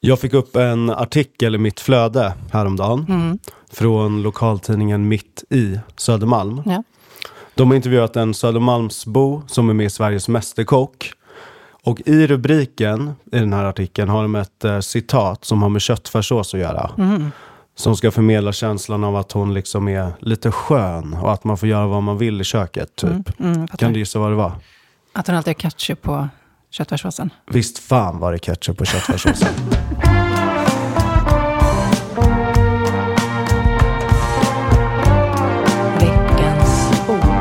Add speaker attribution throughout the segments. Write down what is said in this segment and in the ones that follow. Speaker 1: Jag fick upp en artikel i mitt flöde häromdagen
Speaker 2: Mm.
Speaker 1: från lokaltidningen Mitt i Södermalm.
Speaker 2: Ja.
Speaker 1: De har intervjuat en Södermalmsbo som är med i Sveriges Mästerkock. Och i rubriken i den här artikeln har de ett eh, citat som har med köttfärssås att göra.
Speaker 2: Mm.
Speaker 1: Som ska förmedla känslan av att hon liksom är lite skön och att man får göra vad man vill i köket. Typ.
Speaker 2: Mm, jag fattar.
Speaker 1: Kan du gissa vad det var?
Speaker 2: Att hon alltid har ketchup på köttfärssåsen.
Speaker 1: Visst fan var det ketchup på köttfärssåsen.
Speaker 2: Veckans ord.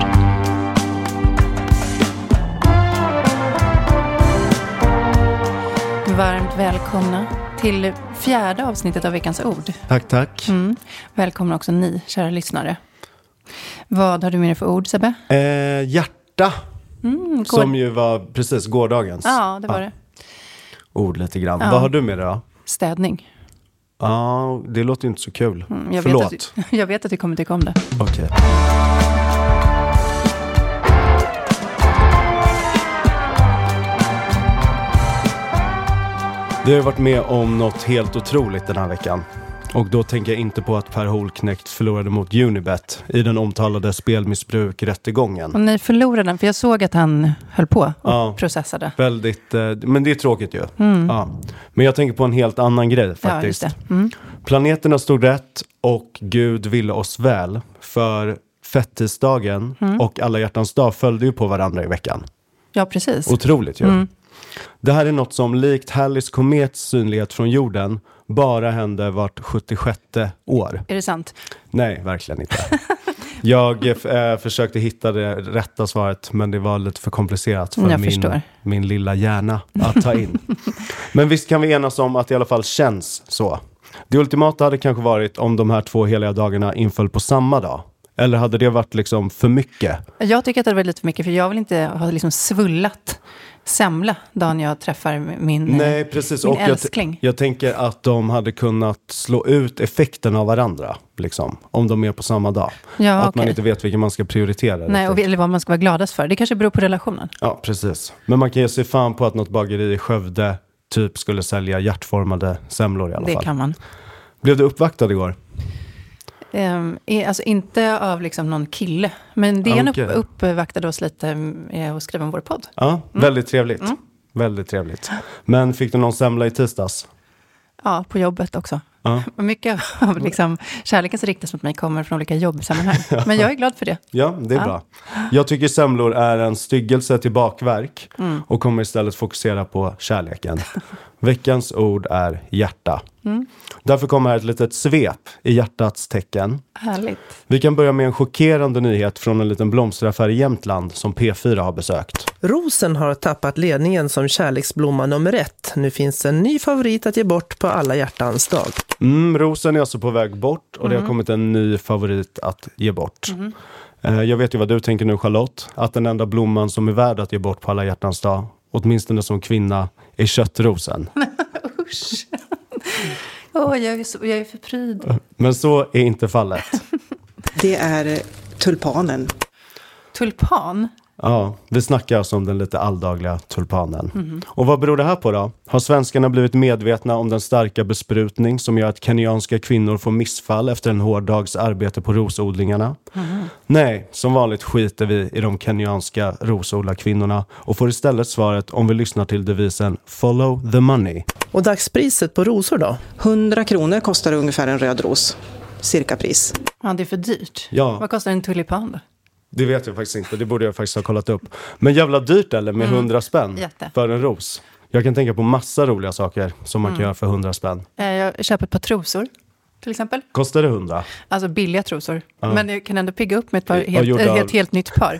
Speaker 2: Varmt välkomna till fjärde avsnittet av Veckans ord.
Speaker 1: tack, tack.
Speaker 2: Mm. Välkomna också ni, kära lyssnare. Vad har du med dig för ord, Sebbe?
Speaker 1: Eh, hjärta,
Speaker 2: Mm, går-
Speaker 1: som ju var precis gårdagens
Speaker 2: Ja, det var det.
Speaker 1: ord lite grann.
Speaker 2: Ja.
Speaker 1: Vad har du med dig då?
Speaker 2: Städning.
Speaker 1: Ja, det låter ju inte så kul.
Speaker 2: Mm, jag
Speaker 1: Förlåt.
Speaker 2: Vet att, du- jag vet att du kommer tycka om det.
Speaker 1: Okej. Du har ju varit med om något helt otroligt den här veckan. Och då tänker jag inte på att Per Holknekt förlorade mot Unibet i den omtalade spelmissbruk-rättegången.
Speaker 2: Och ni förlorade den, för jag såg att han höll på och
Speaker 1: Ja.
Speaker 2: processade.
Speaker 1: Väldigt, eh, men det är tråkigt ju. Ja. Men jag tänker på en helt annan grej
Speaker 2: Mm. Ja,
Speaker 1: faktiskt.
Speaker 2: just det. Mm.
Speaker 1: Planeterna stod rätt och Gud ville oss väl. För fettisdagen
Speaker 2: Mm.
Speaker 1: och alla hjärtans dag följde ju på varandra i veckan.
Speaker 2: Ja, precis.
Speaker 1: Otroligt ju.
Speaker 2: Mm.
Speaker 1: Det här är något som likt Halleys komets synlighet från jorden bara händer vart 76 år.
Speaker 2: Är det sant?
Speaker 1: Nej, verkligen inte. Jag eh, försökte hitta det rätta svaret, men det var lite för komplicerat för
Speaker 2: Mm, Jag
Speaker 1: min,
Speaker 2: förstår.
Speaker 1: min lilla hjärna att ta in. men visst kan vi enas om att det i alla fall känns så. Det ultimata hade kanske varit om de här två heliga dagarna inföll på samma dag. Eller hade det varit liksom för mycket?
Speaker 2: Jag tycker att det var lite för mycket, för jag vill inte ha liksom svullat semla dagen jag träffar min...
Speaker 1: Nej, precis.
Speaker 2: Min
Speaker 1: och jag,
Speaker 2: älskling.
Speaker 1: jag tänker att de hade kunnat slå ut effekten av varandra, liksom, om de är på samma dag.
Speaker 2: Ja,
Speaker 1: att man
Speaker 2: okej.
Speaker 1: inte vet vilken man ska prioritera.
Speaker 2: Nej,
Speaker 1: riktigt.
Speaker 2: och vi- eller vad man ska vara gladast för. Det kanske beror på relationen.
Speaker 1: Ja, precis. Men man kan ju se fan på att något bageri i Skövde typ skulle sälja hjärtformade semlor i alla
Speaker 2: Det
Speaker 1: fall.
Speaker 2: kan man.
Speaker 1: Blev du uppvaktad igår?
Speaker 2: Ehm, i- alltså inte av liksom någon kille, men DN
Speaker 1: Okej.
Speaker 2: upp, uppvaktade oss lite eh, och skrev om vår podd.
Speaker 1: Ja, väldigt trevligt.
Speaker 2: Mm.
Speaker 1: Väldigt trevligt. Men fick du någon semla i tisdags?
Speaker 2: Ja, på jobbet också.
Speaker 1: Ja.
Speaker 2: Och Mycket av liksom, kärleken som riktas mot mig kommer från olika jobbsammanhang. Men jag är glad för det.
Speaker 1: Ja, det är
Speaker 2: Ja.
Speaker 1: bra. Jag tycker semlor är en styggelse till bakverk
Speaker 2: Mm.
Speaker 1: och kommer istället fokusera på kärleken. Veckans ord är hjärta.
Speaker 2: Mm.
Speaker 1: Därför kommer här ett litet svep i hjärtats tecken.
Speaker 2: Härligt.
Speaker 1: Vi kan börja med en chockerande nyhet från en liten blomsteraffär i Jämtland som P4 har besökt.
Speaker 3: Rosen har tappat ledningen som kärleksblomma nummer ett. Nu finns en ny favorit att ge bort på alla hjärtans dag.
Speaker 1: Mm, rosen är alltså på väg bort och det har kommit en ny favorit att ge bort. Eh, Jag vet ju vad du tänker nu Charlotte, att den enda blomman som är värd att ge bort på alla hjärtans dag, åtminstone som kvinna, är köttrosen.
Speaker 2: Usch. Åh, jag, är så, jag är förpryd.
Speaker 1: Men så är inte fallet.
Speaker 4: Det är eh, tulpanen.
Speaker 2: Tulpan?
Speaker 1: Ja, vi snackar alltså om den lite alldagliga tulpanen. Och vad beror det här på då? Har svenskarna blivit medvetna om den starka besprutning som gör att kenyanska kvinnor får missfall efter en hård dags arbete på rosodlingarna? Nej, som vanligt skiter vi i de kenyanska rosodlarkvinnorna och får istället svaret om vi lyssnar till devisen “Follow the money”.
Speaker 3: Och dagspriset på rosor då?
Speaker 4: 100 kronor kostar ungefär en röd ros. Cirka pris.
Speaker 2: Ja, det är för dyrt.
Speaker 1: Ja.
Speaker 2: Vad kostar en tulipan då?
Speaker 1: Det vet jag faktiskt inte, det borde jag faktiskt ha kollat upp. Men jävla dyrt eller med 100 spänn
Speaker 2: Jätte.
Speaker 1: för en ros? Jag kan tänka på massa roliga saker som man kan göra för 100 spänn.
Speaker 2: Eh, Jag köper ett par trosor, till exempel.
Speaker 1: Kostar det 100?
Speaker 2: Alltså billiga trosor. Men jag kan ändå pigga upp med ett, par
Speaker 1: Ja, gjorda
Speaker 2: helt, ett
Speaker 1: av-
Speaker 2: helt, helt nytt par.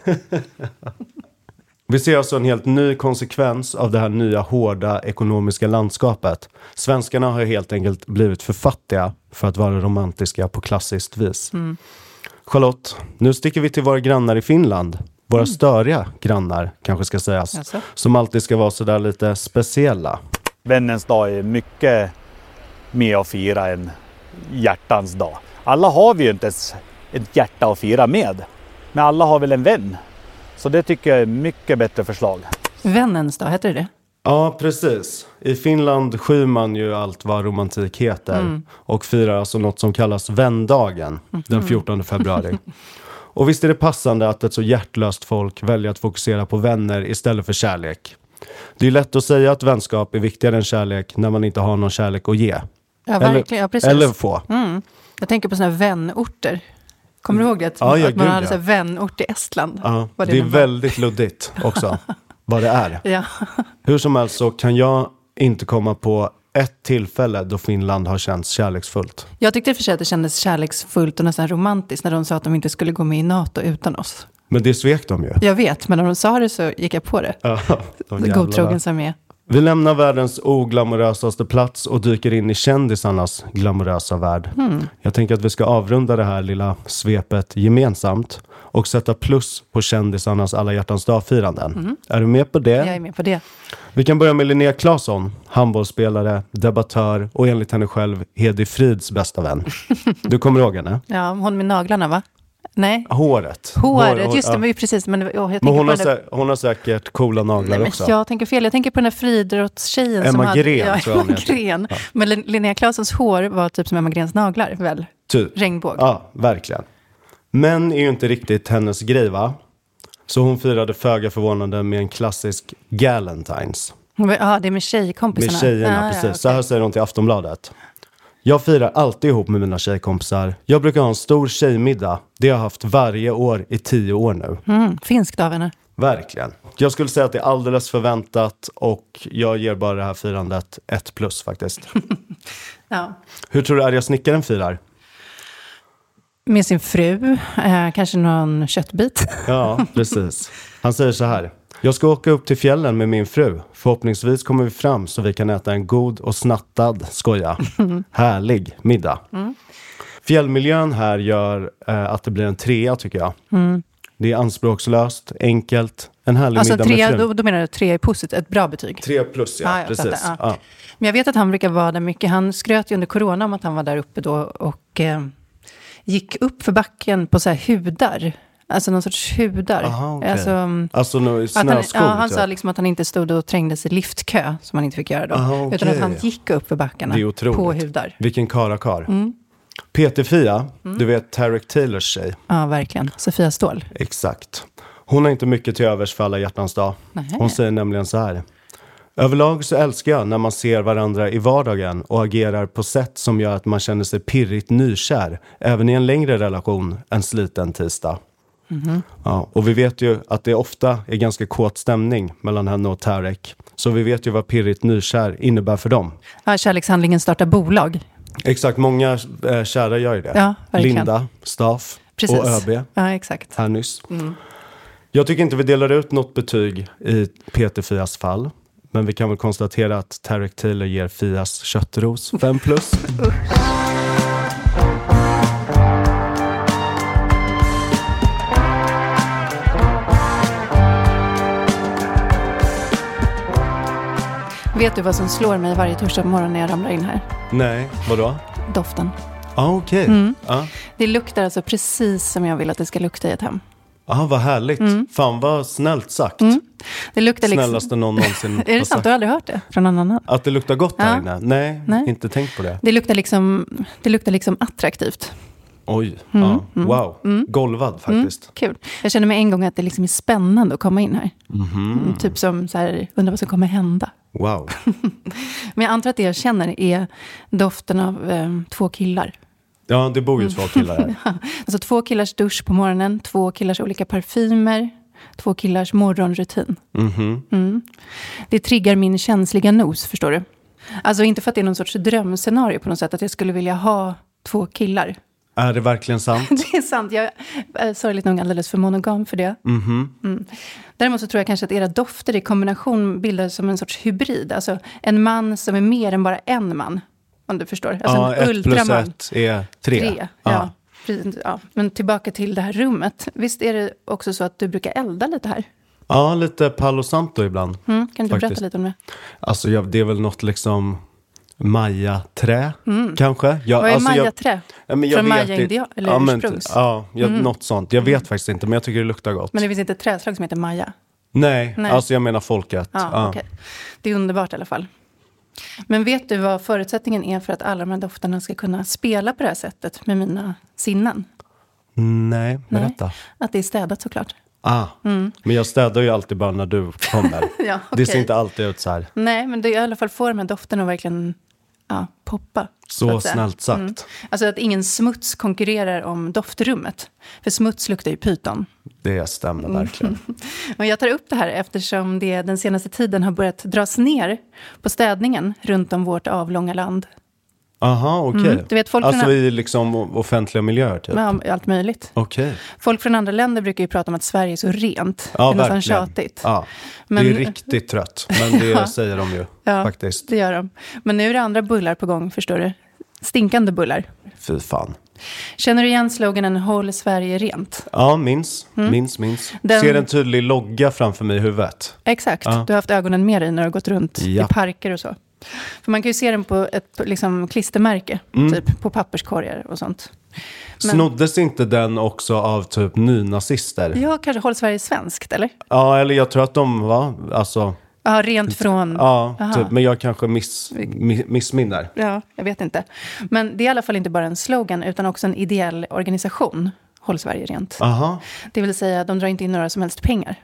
Speaker 1: Vi ser alltså en helt ny konsekvens av det här nya hårda ekonomiska landskapet. Svenskarna har helt enkelt blivit för fattiga för att vara romantiska på klassiskt vis. Charlotte, nu sticker vi till våra grannar i Finland. Våra störiga grannar, kanske ska sägas.
Speaker 2: Jaså?
Speaker 1: Som alltid ska vara sådär lite speciella.
Speaker 5: Vännens dag är mycket mer att fira än hjärtans dag. Alla har vi ju inte ens ett hjärta att fira med. Men alla har väl en vän. Så det tycker jag är mycket bättre förslag.
Speaker 2: Vännens dag, heter det det?
Speaker 1: Ja, precis. I Finland skyr man ju allt vad romantik heter
Speaker 2: Mm.
Speaker 1: och firar alltså något som kallas vändagen den
Speaker 2: Mm.
Speaker 1: 14 februari. och visst är det passande att ett så hjärtlöst folk väljer att fokusera på vänner istället för kärlek. Det är lätt att säga att vänskap är viktigare än kärlek när man inte har någon kärlek att ge.
Speaker 2: Ja, verkligen. Ja,
Speaker 1: eller,
Speaker 2: precis.
Speaker 1: eller få.
Speaker 2: Mm. Jag tänker på sådana här vänorter. Kommer du ihåg det? Att
Speaker 1: Ja, ja,
Speaker 2: att man
Speaker 1: gud,
Speaker 2: hade
Speaker 1: ja.
Speaker 2: så här vänort i Estland.
Speaker 1: Ja,
Speaker 2: Vad
Speaker 1: det är
Speaker 2: nu var.
Speaker 1: väldigt luddigt också vad det är.
Speaker 2: Ja.
Speaker 1: Hur som helst så kan jag inte komma på ett tillfälle då Finland har känts kärleksfullt.
Speaker 2: Jag tyckte i och för sig att det kändes kärleksfullt och nästan romantiskt när de sa att de inte skulle gå med i NATO utan oss.
Speaker 1: Men det svek de ju.
Speaker 2: Jag vet, men när de sa det så gick jag på det.
Speaker 1: Ja, de jävlarna.
Speaker 2: Godtrogen som jag är.
Speaker 1: Vi lämnar världens oglamorösaste plats och dyker in i kändisarnas glamorösa värld.
Speaker 2: Hmm.
Speaker 1: Jag tänker att vi ska avrunda det här lilla svepet gemensamt och sätta plus på kändisarnas alla hjärtans dag-firanden.
Speaker 2: Mm.
Speaker 1: Är du med på det?
Speaker 2: Jag är med på det.
Speaker 1: Vi kan börja med Linnea Claesson, handbollsspelare, debattör och enligt henne själv Hedi Frids bästa vän. Du kommer ihåg henne?
Speaker 2: Ja, hon med naglarna va? Nej,
Speaker 1: Håret.
Speaker 2: håret.
Speaker 1: Hår-
Speaker 2: just det,
Speaker 1: ja.
Speaker 2: men ju precis. Men, åh, jag tänker
Speaker 1: Men hon
Speaker 2: på
Speaker 1: har,
Speaker 2: den där-
Speaker 1: sä- hon har säkert coola naglar
Speaker 2: Nej, men
Speaker 1: också.
Speaker 2: jag tänker fel. Jag tänker på den där friidrottstjejen. som
Speaker 1: Emma
Speaker 2: hade-
Speaker 1: Gren,
Speaker 2: ja,
Speaker 1: tror jag hon
Speaker 2: Emma
Speaker 1: heter.
Speaker 2: Gren. Men Lin- Linnea Claessons hår var typ som Emma Grens naglar, väl?
Speaker 1: Typ.
Speaker 2: Regnbåg.
Speaker 1: Ja, verkligen. Män är ju inte riktigt hennes grej, va? Så hon firade föga förvånande med en klassisk Galentines.
Speaker 2: Ja, ah, det är med
Speaker 1: Med
Speaker 2: tjejkompisarna.
Speaker 1: tjejerna,
Speaker 2: Ah,
Speaker 1: precis.
Speaker 2: Ja, okej.
Speaker 1: Så här säger hon till Aftonbladet. Jag firar alltid ihop med mina tjejkompisar. Jag brukar ha en stor tjejmiddag. Det har jag haft varje år i tio år nu.
Speaker 2: mm, finskt av henne.
Speaker 1: Verkligen. Jag skulle säga att det är alldeles förväntat och jag ger bara det här firandet ett plus faktiskt.
Speaker 2: Ja.
Speaker 1: Hur tror du arga snickaren firar?
Speaker 2: Med sin fru, eh, kanske någon köttbit.
Speaker 1: Ja, precis. Han säger så här. Jag ska åka upp till fjällen med min fru. Förhoppningsvis kommer vi fram så vi kan äta en god och snattad, skoja, härlig middag.
Speaker 2: Mm.
Speaker 1: Fjällmiljön här gör eh, att det blir en trea tycker jag. Det är anspråkslöst, enkelt, en härlig
Speaker 2: Mm. Alltså
Speaker 1: middag
Speaker 2: tre,
Speaker 1: med frun.
Speaker 2: då, då menar du att tre är positivt, ett bra betyg.
Speaker 1: Tre plus ja,
Speaker 2: Ah, jag
Speaker 1: precis.
Speaker 2: fattar,
Speaker 1: ja.
Speaker 2: ja. Men jag vet att han brukar vara där mycket. Han skröt ju under corona om att han var där uppe då och eh, gick upp för backen på så här hudar. Alltså någon sorts hudar.
Speaker 1: Aha, okej.
Speaker 2: alltså, mm,
Speaker 1: Alltså no,
Speaker 2: att han,
Speaker 1: snöskor.
Speaker 2: ja, han
Speaker 1: typ.
Speaker 2: sa liksom att han inte stod och trängdes i liftkö, som han inte fick göra då.
Speaker 1: Aha, okej.
Speaker 2: Utan att han gick upp för backarna
Speaker 1: Det är otroligt.
Speaker 2: på hudar.
Speaker 1: Vilken karakar.
Speaker 2: Mm.
Speaker 1: PT-Fia, du vet Tarek Taylors tjej.
Speaker 2: Ja, verkligen. Sofia Ståhl.
Speaker 1: Exakt. Hon har inte mycket till övers för alla hjärtans dag.
Speaker 2: Nähä.
Speaker 1: Hon säger nämligen så här. Överlag så älskar jag när man ser varandra i vardagen och agerar på sätt som gör att man känner sig pirrigt nykär, även i en längre relation än sliten tisdag.
Speaker 2: Mhm.
Speaker 1: Ja, och vi vet ju att det ofta är ganska kåt stämning mellan henne och Tarek. Så vi vet ju vad pirrigt nykär innebär för dem.
Speaker 2: Ja, kärlekshandlingen startar bolag.
Speaker 1: Exakt, många eh, kära gör ju det.
Speaker 2: Ja, verkligen.
Speaker 1: Linda, Staff
Speaker 2: Precis.
Speaker 1: och ÖB
Speaker 2: Ja, exakt.
Speaker 1: här nyss.
Speaker 2: Mm.
Speaker 1: Jag tycker inte vi delar ut något betyg i Peter Fias fall. Men vi kan väl konstatera att Tarek Taylor ger Fias köttros 5 plus.
Speaker 2: Vet du vad som slår mig varje torsdag morgon när jag ramlar in här?
Speaker 1: Nej, vadå?
Speaker 2: Doften.
Speaker 1: Ah, Okej.
Speaker 2: Mm.
Speaker 1: Ah.
Speaker 2: Det luktar alltså precis som jag vill att det ska lukta i ett hem.
Speaker 1: Ah, vad härligt. Fan vad snällt sagt.
Speaker 2: Mm. Det luktar liksom...
Speaker 1: Snällaste någon någonsin
Speaker 2: Är
Speaker 1: har
Speaker 2: det sant?
Speaker 1: sagt.
Speaker 2: Du har aldrig hört det från någon annan?
Speaker 1: Att det luktar gott
Speaker 2: Ja.
Speaker 1: här inne? Nej,
Speaker 2: Nej.
Speaker 1: inte tänkt på det.
Speaker 2: Det luktar liksom, det luktar liksom attraktivt.
Speaker 1: Oj,
Speaker 2: Mm,
Speaker 1: ja. wow. Golvad faktiskt.
Speaker 2: Kul. Jag känner mig en gång att det liksom är spännande att komma in här. Mm, Typ som så här, undrar vad som kommer hända.
Speaker 1: Wow.
Speaker 2: Men jag antar att det jag känner är doften av eh, två killar.
Speaker 1: Ja, det bor ju
Speaker 2: Mm.
Speaker 1: två killar här.
Speaker 2: Alltså två killars dusch på morgonen, två killars olika parfymer, två killars morgonrutin. Mm. Det triggar min känsliga nos, förstår du. Alltså inte för att det är någon sorts drömscenario på något sätt, att jag skulle vilja ha två killar.
Speaker 1: Är det verkligen sant?
Speaker 2: Det är sant, jag är sorgligt nog alldeles för monogam för det.
Speaker 1: Mm-hmm.
Speaker 2: Mm. Däremot så tror jag kanske att era dofter i kombination bildar som en sorts hybrid. Alltså en man som är mer än bara en man, om du förstår. Alltså
Speaker 1: ja,
Speaker 2: en
Speaker 1: ett plus ett är tre. Ah.
Speaker 2: Tre, ja.
Speaker 1: Ja.
Speaker 2: Precis, ja. Men tillbaka till det här rummet. Visst är det också så att du brukar elda lite här?
Speaker 1: ja, lite palo santo ibland.
Speaker 2: Mm, kan du
Speaker 1: Faktiskt.
Speaker 2: berätta lite om det?
Speaker 1: Alltså jag, det är väl något liksom Maya-trä kanske? Jag,
Speaker 2: Mm. Vad är
Speaker 1: alltså, jag-
Speaker 2: mayaträ?
Speaker 1: Ja, men jag
Speaker 2: Från
Speaker 1: vet
Speaker 2: maya-indian,
Speaker 1: inte.
Speaker 2: eller
Speaker 1: ja, men,
Speaker 2: ursprungs? Mm.
Speaker 1: ja, jag, något sånt. Jag vet faktiskt inte, men jag tycker det luktar gott.
Speaker 2: Men det finns inte ett träslag som heter maja?
Speaker 1: Nej,
Speaker 2: Nej.
Speaker 1: alltså jag menar folket.
Speaker 2: Ja,
Speaker 1: Ja.
Speaker 2: okej. Det är underbart i alla fall. Men vet du vad förutsättningen är för att alla de här dofterna ska kunna spela på det här sättet med mina sinnen?
Speaker 1: Nej, berätta.
Speaker 2: Att det är städat såklart.
Speaker 1: Ah, Men jag städar ju alltid bara när du kommer.
Speaker 2: Mm. Ja,
Speaker 1: Det ser
Speaker 2: okej.
Speaker 1: inte alltid ut så här.
Speaker 2: Nej, men det är i alla fall får de här dofterna att verkligen ja, poppa.
Speaker 1: Så
Speaker 2: att säga.
Speaker 1: snällt sagt.
Speaker 2: Alltså att ingen smuts konkurrerar om doftrummet. För smuts luktar ju pyton.
Speaker 1: Det stämmer
Speaker 2: Mm.
Speaker 1: verkligen.
Speaker 2: Och jag tar upp det här eftersom det den senaste tiden har börjat dras ner på städningen runt om vårt avlånga land.
Speaker 1: Aha, okej.
Speaker 2: Mm, du vet, folk
Speaker 1: alltså
Speaker 2: från-
Speaker 1: i liksom o- offentliga miljöer typ?
Speaker 2: Med allt möjligt.
Speaker 1: Okej.
Speaker 2: Folk från andra länder brukar ju prata om att Sverige är så rent.
Speaker 1: Ja,
Speaker 2: det är nästan
Speaker 1: verkligen.
Speaker 2: tjatigt.
Speaker 1: Ja.
Speaker 2: Men-
Speaker 1: Det är riktigt trött, men det
Speaker 2: Ja.
Speaker 1: säger de ju
Speaker 2: Ja,
Speaker 1: faktiskt.
Speaker 2: Det gör de. Men nu är det andra bullar på gång, förstår du. Stinkande bullar.
Speaker 1: Fy fan.
Speaker 2: Känner du igen sloganen Håll Sverige rent?
Speaker 1: Ja, minns, minns, minns.
Speaker 2: Mm. Den-
Speaker 1: Ser en tydlig logga framför mig i huvudet.
Speaker 2: Exakt.
Speaker 1: Ja.
Speaker 2: Du har haft ögonen med dig när du har gått runt
Speaker 1: Ja.
Speaker 2: i parker och så. För man kan ju se den på ett på liksom, klistermärke,
Speaker 1: Mm.
Speaker 2: typ på papperskorgar och sånt. Men-
Speaker 1: Snoddes inte den också av typ nynazister? Ja.
Speaker 2: Ja, kanske Håll Sverige svenskt, eller?
Speaker 1: eller jag tror att de var, alltså,
Speaker 2: Ja, rent från...
Speaker 1: ja,
Speaker 2: Aha.
Speaker 1: typ, men jag kanske miss, mi- missminner.
Speaker 2: Ja, jag vet inte. Men det är i alla fall inte bara en slogan, utan också en ideell organisation, Håll Sverige rent.
Speaker 1: Aha,
Speaker 2: Det vill säga, de drar inte in några som helst pengar.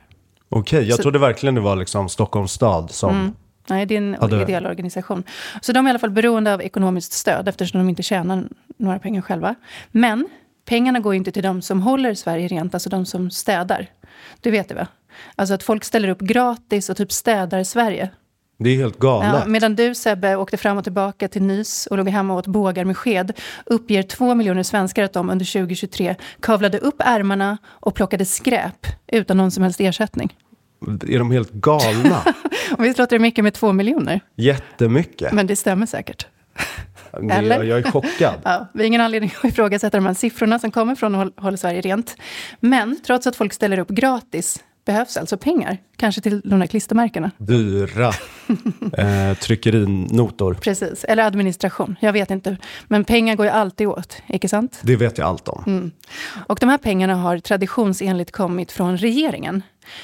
Speaker 1: okej. Jag
Speaker 2: Så- Mm.
Speaker 1: trodde verkligen det var liksom Stockholms stad som...
Speaker 2: Nej, det är en
Speaker 1: det-
Speaker 2: ideell organisation. Så de är i alla fall beroende av ekonomiskt stöd eftersom de inte tjänar några pengar själva. Men pengarna går ju inte till de som håller Sverige rent, alltså de som städar. Du vet det va? Alltså att folk ställer upp gratis och typ städar Sverige.
Speaker 1: Det är helt
Speaker 2: Ja,
Speaker 1: galet.
Speaker 2: medan du Sebbe åkte fram och tillbaka till Nys och låg hemma och åt bågar med sked uppger två miljoner svenskar att de under 2023 kavlade upp ärmarna och plockade skräp utan någon som helst ersättning.
Speaker 1: Är de helt galna?
Speaker 2: Och visst låter det mycket med två miljoner?
Speaker 1: Jättemycket.
Speaker 2: Men det stämmer säkert.
Speaker 1: Det-
Speaker 2: eller?
Speaker 1: Jag, jag är chockad.
Speaker 2: Ja, vi har ingen anledning att ifrågasätta de här siffrorna som kommer från Håll- Håll Sverige Rent. Men trots att folk ställer upp gratis behövs alltså pengar, kanske till de här klistermärkena.
Speaker 1: Dyra eh, tryckerinotor.
Speaker 2: Precis, eller administration, jag vet inte. Men pengar går ju alltid åt, icke sant?
Speaker 1: Det vet jag allt om.
Speaker 2: Mm. Och de här pengarna har traditionsenligt kommit från regeringen.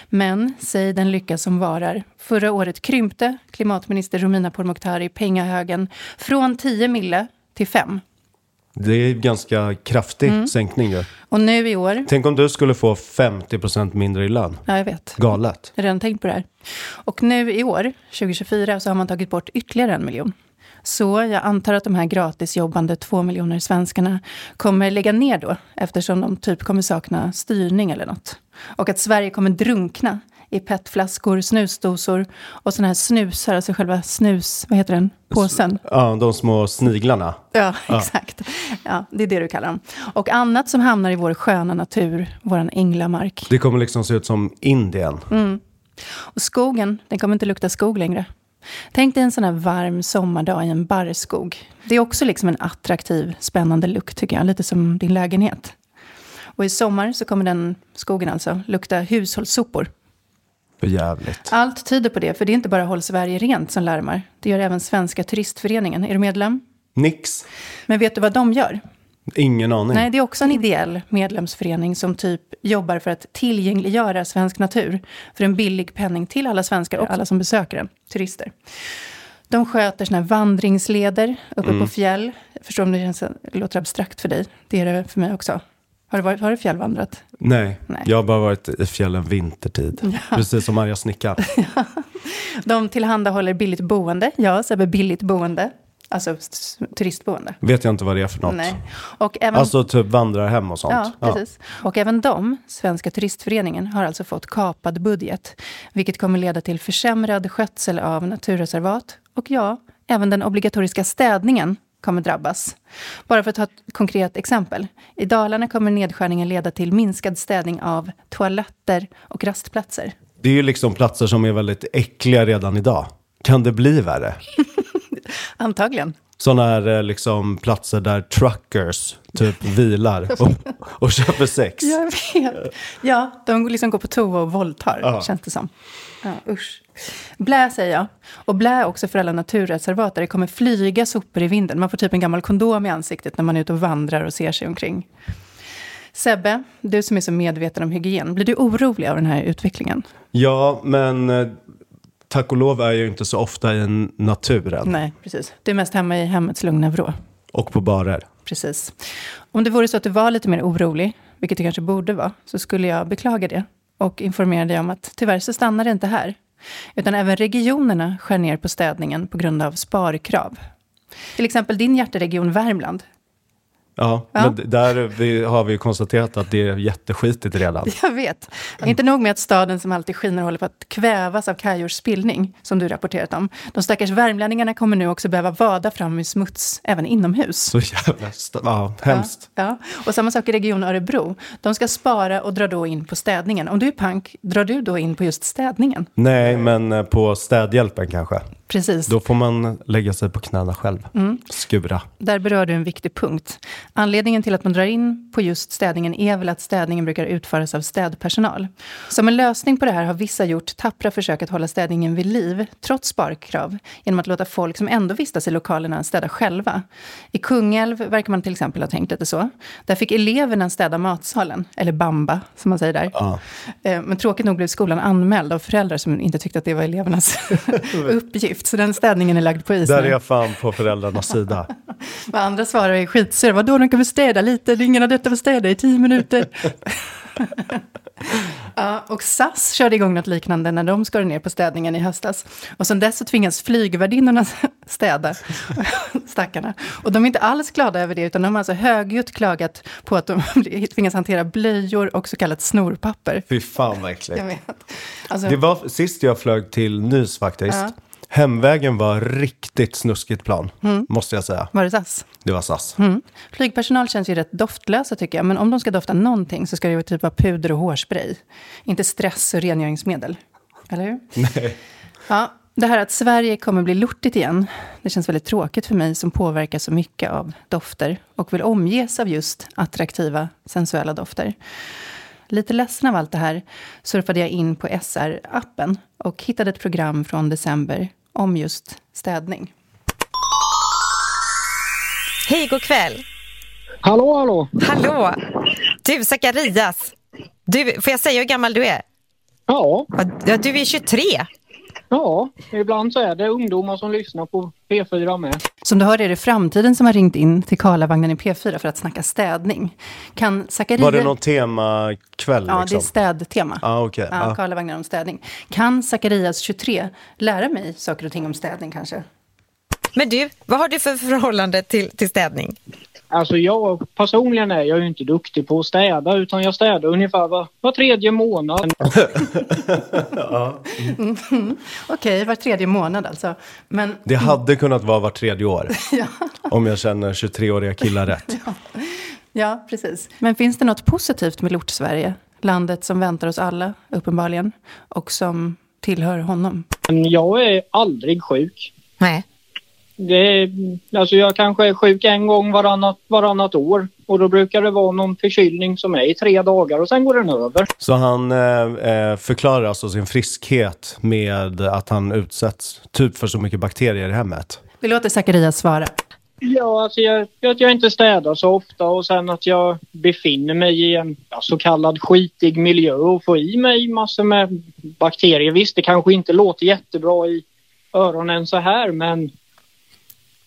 Speaker 2: Men, säg den lycka som varar, förra året krympte klimatminister Romina Pourmokhtari pengahögen från 10 mille till 5.
Speaker 1: Det är en ganska kraftig
Speaker 2: Mm.
Speaker 1: sänkning ju.
Speaker 2: Och nu i år,
Speaker 1: Tänk om du skulle få 50% mindre i lön.
Speaker 2: ja jag vet,
Speaker 1: Galet.
Speaker 2: Jag har redan tänkt på det här. Och nu i år, 2024, så har man tagit bort ytterligare en miljon. Så jag antar att de här gratisjobbande två miljoner svenskarna kommer lägga ner då, eftersom de typ kommer sakna styrning eller något. Och att Sverige kommer drunkna i petflaskor, snusdosor och såna här snusar, alltså själva snus, vad heter den, påsen?
Speaker 1: Ja, de små sniglarna.
Speaker 2: Ja, exakt. Ja, det är det du kallar dem. Och annat som hamnar i vår sköna natur, vår änglamark.
Speaker 1: Det kommer liksom se ut som Indien.
Speaker 2: Mm. Och skogen, den kommer inte lukta skog längre. Tänk dig en sån här varm sommardag i en barrskog. Det är också liksom en attraktiv, spännande lukt tycker jag. Lite som din lägenhet. Och i sommar så kommer den skogen alltså lukta hushållssopor.
Speaker 1: För jävligt.
Speaker 2: Allt tyder på det, för det är inte bara Håll Sverige Rent som larmar. Det gör även Svenska Turistföreningen. Är du medlem?
Speaker 1: Nix.
Speaker 2: Men vet du vad de gör?
Speaker 1: Ingen aning.
Speaker 2: Nej, det är också en ideell medlemsförening som typ jobbar för att tillgängliggöra svensk natur för en billig penning till alla svenskar och alla som besöker den, turister. De sköter såna här vandringsleder uppe
Speaker 1: Mm.
Speaker 2: på fjäll. Jag förstår om det känns, låter abstrakt för dig. Det är det för mig också. Har du, varit, har du fjällvandrat?
Speaker 1: Nej.
Speaker 2: Nej.
Speaker 1: Jag har bara varit i fjällen vintertid. Precis som arga snickaren.
Speaker 2: De tillhandahåller billigt boende. Ja, Sebbe, billigt boende. Alltså s- turistboende.
Speaker 1: vet jag inte vad det är för något. Mm.
Speaker 2: Nej. Och även...
Speaker 1: Alltså typ vandrar hem och sånt.
Speaker 2: Ja, precis. Och även de, Svenska turistföreningen, har alltså fått kapad budget. Vilket kommer leda till försämrad skötsel av naturreservat. Och ja, även den obligatoriska städningen kommer drabbas. Bara för att ta ett konkret exempel. I Dalarna kommer nedskärningen leda till minskad städning av toaletter och rastplatser.
Speaker 1: Det är ju liksom platser som är väldigt äckliga redan idag. Kan det bli värre?
Speaker 2: Antagligen.
Speaker 1: Sådana här eh, liksom, platser där truckers typ vilar och, och köper sex.
Speaker 2: Jag vet. Ja, de liksom går på toa och våldtar,
Speaker 1: Ja.
Speaker 2: känns det som. Ja, usch. Blä, säger jag. Och blä också för alla naturreservat där det kommer flyga sopor i vinden. Man får typ en gammal kondom i ansiktet när man är ute och vandrar och ser sig omkring. Sebbe, du som är så medveten om hygien, blir du orolig av den här utvecklingen?
Speaker 1: Ja, men eh, tack och lov är jag ju inte så ofta i naturen
Speaker 2: Nej, precis. Du är mest hemma i hemmets lugna vrå.
Speaker 1: och på barer.
Speaker 2: Precis. Om det vore så att du var lite mer orolig, vilket du kanske borde vara, så skulle jag beklaga det och informera dig om att tyvärr så stannar det inte här. Utan även regionerna skär ner på städningen på grund av sparkrav. Till exempel din hjärteregion Värmland.
Speaker 1: Ja,
Speaker 2: Ja.
Speaker 1: men d- där vi, har vi ju konstaterat att det är jätteskitigt redan.
Speaker 2: Jag vet. Inte nog med att staden som alltid skiner håller på att kvävas av kajors spillning, som du rapporterat om. De stackars värmlänningarna kommer nu också behöva vada fram i smuts, även inomhus.
Speaker 1: Så jävla... st- Ja, hemskt.
Speaker 2: Ja, ja. Och samma sak i Region Örebro. De ska spara och drar då in på städningen. Om du är pank, drar du då in på just städningen?
Speaker 1: Nej, men eh, på städhjälpen kanske.
Speaker 2: Precis.
Speaker 1: Då får man lägga sig på knäna själv. Skura.
Speaker 2: Där berör du en viktig punkt. Anledningen till att man drar in på just städningen är väl att städningen brukar utföras av städpersonal. Som en lösning på det här har vissa gjort tappra försök att hålla städningen vid liv, trots sparkrav, genom att låta folk som ändå vistas i lokalerna städa själva. I Kungälv verkar man till exempel ha tänkt lite så. Där fick eleverna städa matsalen, eller bamba, som man säger där.
Speaker 1: Ja.
Speaker 2: Eh, Men tråkigt nog blev skolan anmäld av föräldrar som inte tyckte att det var elevernas uppgift. Så den städningen är lagd på is
Speaker 1: Där
Speaker 2: nu.
Speaker 1: är jag fan på föräldrarnas sida.
Speaker 2: Vad andra svarar är skitsura. Vadå, de kan väl städa lite? Ingen har detta att städa i tio minuter. ja, och SAS körde igång något liknande när de skar ner på städningen i höstas. Och sen dess så tvingas flygvärdinnorna städa, stackarna. Och de är inte alls glada över det, utan de har alltså högljutt klagat på att de tvingas hantera blöjor och så kallat snorpapper.
Speaker 1: Fy fan vad
Speaker 2: Jag
Speaker 1: äckligt.
Speaker 2: vet. Alltså,
Speaker 1: Det var sist jag flög till Nys faktiskt.
Speaker 2: Ja.
Speaker 1: Hemvägen var riktigt snuskigt plan, måste jag säga.
Speaker 2: var det SAS?
Speaker 1: Det var SAS.
Speaker 2: Mm. Flygpersonal känns ju rätt doftlösa tycker jag, men om de ska dofta någonting så ska det ju typ vara puder och hårspray. Inte stress och rengöringsmedel. Eller hur?
Speaker 1: Nej.
Speaker 2: Ja, det här att Sverige kommer bli lortigt igen, det känns väldigt tråkigt för mig som påverkas så mycket av dofter och vill omges av just attraktiva, sensuella dofter. Lite ledsen av allt det här surfade jag in på SR-appen och hittade ett program från december om just städning.
Speaker 6: Hej, god kväll.
Speaker 7: Hallå, hallå!
Speaker 6: Hallå. Du, Zacharias. Du, får jag säga hur gammal du är?
Speaker 7: Ja,
Speaker 6: Ja, du är 23.
Speaker 7: ja, ibland så är det ungdomar som lyssnar på P4 med.
Speaker 2: Som du hör är det framtiden som har ringt in till Karlavagnen i P4 för att snacka städning. Kan Zacharias...
Speaker 1: Var det någon temakväll
Speaker 2: Ja, det
Speaker 1: liksom?
Speaker 2: är städtema.
Speaker 1: Ja, okej. Ah.
Speaker 2: Ja,
Speaker 1: Ja.
Speaker 2: Karlavagnen om städning. Kan Zacharias 23 lära mig saker och ting om städning kanske?
Speaker 6: Men du, vad har du för förhållande till, till städning?
Speaker 7: Alltså jag personligen är jag ju inte duktig på att städa utan jag städar ungefär var, var tredje månad.
Speaker 2: Okej, var tredje månad alltså. Men
Speaker 1: Det hade kunnat vara var tredje år. Om jag känner 23-åriga killar rätt.
Speaker 2: Ja, precis. Men finns det något positivt med Lort-Sverige? Landet som väntar oss alla, uppenbarligen, och som tillhör honom.
Speaker 7: Men jag är aldrig sjuk.
Speaker 6: Nej.
Speaker 7: Det är, alltså jag kanske är sjuk en gång varannat, varannat år och då brukar det vara någon förkylning som är i tre dagar och sen går den över.
Speaker 1: Så han eh, eh, förklarar alltså sin friskhet med att han utsätts typ för så mycket bakterier i hemmet.
Speaker 2: Vi låter Zacharias svara.
Speaker 7: Ja, alltså jag, att jag inte städar så ofta och sen att jag befinner mig i en ja, så kallad skitig miljö och får i mig massor med bakterier. Visst, det kanske inte låter jättebra i öronen så här, men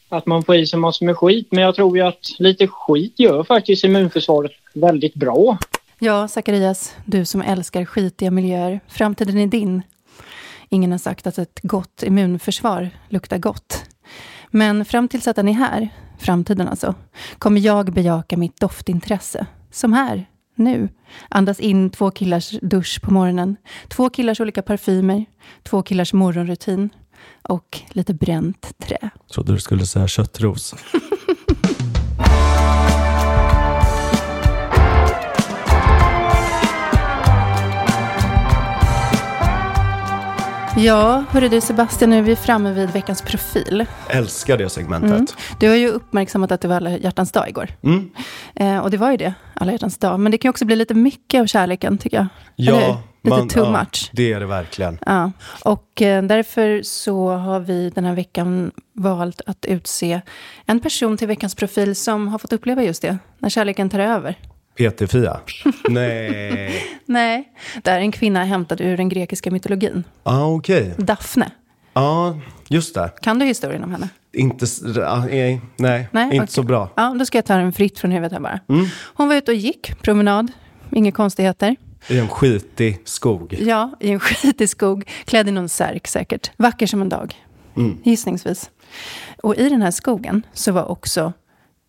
Speaker 7: att man får i sig massor med skit. Men jag tror ju att lite skit gör faktiskt immunförsvaret väldigt bra.
Speaker 2: Ja, Zacharias, du som älskar skitiga miljöer, framtiden är din. Ingen har sagt att ett gott immunförsvar luktar gott. Men fram tills att den är här, framtiden alltså, kommer jag bejaka mitt doftintresse. Som här, nu. Andas in två killars dusch på morgonen, två killars olika parfymer, två killars morgonrutin och lite bränt trä.
Speaker 1: Trodde du skulle säga köttros.
Speaker 2: Ja, hörru du Sebastian, nu är vi framme vid veckans profil.
Speaker 1: Älskar det segmentet.
Speaker 2: Du har ju uppmärksammat att det var alla hjärtans dag igår.
Speaker 1: Mm.
Speaker 2: Eh, och det var ju det, alla hjärtans dag. Men det kan ju också bli lite mycket av kärleken, tycker jag. Eller hur?
Speaker 1: Ja,
Speaker 2: Lite
Speaker 1: man-
Speaker 2: too
Speaker 1: ja,
Speaker 2: much.
Speaker 1: Det är det verkligen.
Speaker 2: Ja. Och eh, därför så har vi den här veckan valt att utse en person till veckans profil som har fått uppleva just det, när kärleken tar över.
Speaker 1: PT-Fia? Nej.
Speaker 2: Nej, det är en kvinna hämtad ur den grekiska mytologin.
Speaker 1: Ja, ah, okej.
Speaker 2: Daphne.
Speaker 1: Ja, just det.
Speaker 2: Kan du historien om henne?
Speaker 1: Inte, s- ah, nej, nej,
Speaker 2: Nej,
Speaker 1: inte
Speaker 2: okej.
Speaker 1: så bra. Mm.
Speaker 2: Ja, då ska jag ta den fritt från huvudet här bara. Hon var ute och gick, promenad, inga konstigheter.
Speaker 1: I en skitig skog.
Speaker 2: Ja, i en skitig skog, klädd i någon särk säkert. Vacker som en dag,
Speaker 1: Mm.
Speaker 2: gissningsvis. Och i den här skogen så var också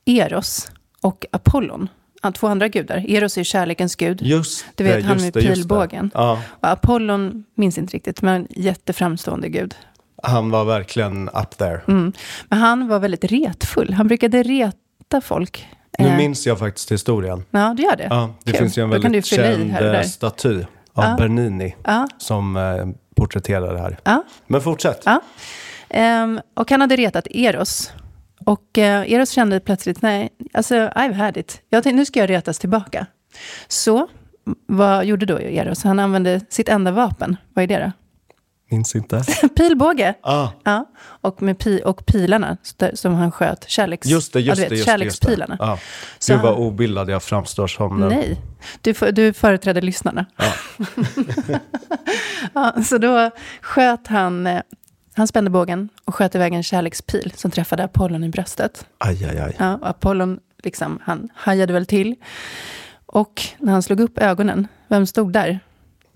Speaker 2: Eros och Apollon, ja, två andra gudar. Eros är kärlekens gud.
Speaker 1: Just
Speaker 2: Du vet,
Speaker 1: det,
Speaker 2: han
Speaker 1: just
Speaker 2: med
Speaker 1: det, just det.
Speaker 2: pilbågen.
Speaker 1: Ja,
Speaker 2: Och Apollon, minns inte riktigt, men jätteframstående gud.
Speaker 1: han var verkligen up there.
Speaker 2: Mm. Men han var väldigt retfull. Han brukade reta folk.
Speaker 1: Nu
Speaker 2: Eh,
Speaker 1: minns jag faktiskt historien.
Speaker 2: Ja, du gör det?
Speaker 1: Ja, det
Speaker 2: Kul.
Speaker 1: finns ju en
Speaker 2: Då kan
Speaker 1: väldigt
Speaker 2: du fylla i
Speaker 1: känd
Speaker 2: här och
Speaker 1: eh,
Speaker 2: där.
Speaker 1: staty av Bernini
Speaker 2: Ja.
Speaker 1: som eh, porträtterar det här.
Speaker 2: Ja.
Speaker 1: Men fortsätt.
Speaker 2: Ja. Ehm, och han hade retat Eros. Och eh, Eros kände plötsligt, nej, alltså I've had it. Jag tänkte, nu ska jag retas tillbaka. Så, vad gjorde då Eros? Han använde sitt enda vapen. Vad är det
Speaker 1: Minns inte.
Speaker 2: då? Pilbåge.
Speaker 1: Ah,
Speaker 2: Ja, och, med pi, och pilarna s- där- som han sköt, kärleks,
Speaker 1: just det,
Speaker 2: ja,
Speaker 1: just
Speaker 2: du
Speaker 1: det.
Speaker 2: vet,
Speaker 1: Just det, just det.
Speaker 2: kärlekspilarna.
Speaker 1: Ja.
Speaker 2: Så
Speaker 1: Gud vad
Speaker 2: han-
Speaker 1: obildad jag framstår som. nu.
Speaker 2: Nej, du, för- du företräder lyssnarna.
Speaker 1: Ja.
Speaker 2: Ja, så då sköt han, eh, han spände bågen och sköt iväg en kärlekspil som träffade Apollon i bröstet.
Speaker 1: Aj, aj, aj.
Speaker 2: Ja, och Apollon liksom, han hajade väl till. Och när han slog upp ögonen, vem stod där?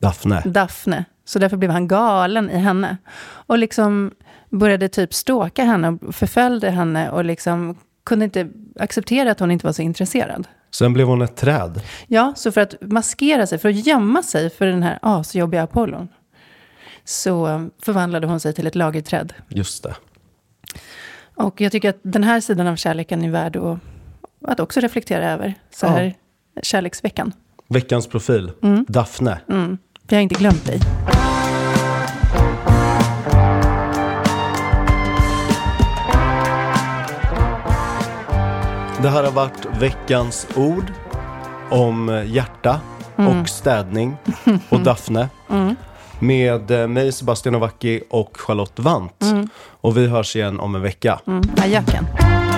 Speaker 1: Daphne.
Speaker 2: Mm. Daphne. Så därför blev han galen i henne. Och liksom började typ ståka henne och förföljde henne och liksom kunde inte acceptera att hon inte var så intresserad.
Speaker 1: Sen blev hon ett träd.
Speaker 2: Ja, så för att maskera sig, för att gömma sig för den här asjobbiga Apollon, så förvandlade hon sig till ett lagerträd.
Speaker 1: Just det.
Speaker 2: Och jag tycker att den här sidan av kärleken är värd att, att också reflektera över, så här kärleksveckan.
Speaker 1: Veckans profil. Daphne.
Speaker 2: Mm. Vi har inte glömt dig.
Speaker 1: Det här har varit veckans ord om eh, hjärta och städning och Daphne. Med eh, mig Sebastian Ovacki och Charlotte Vant. Och vi hörs igen om en vecka.
Speaker 2: Mm. Ajaken.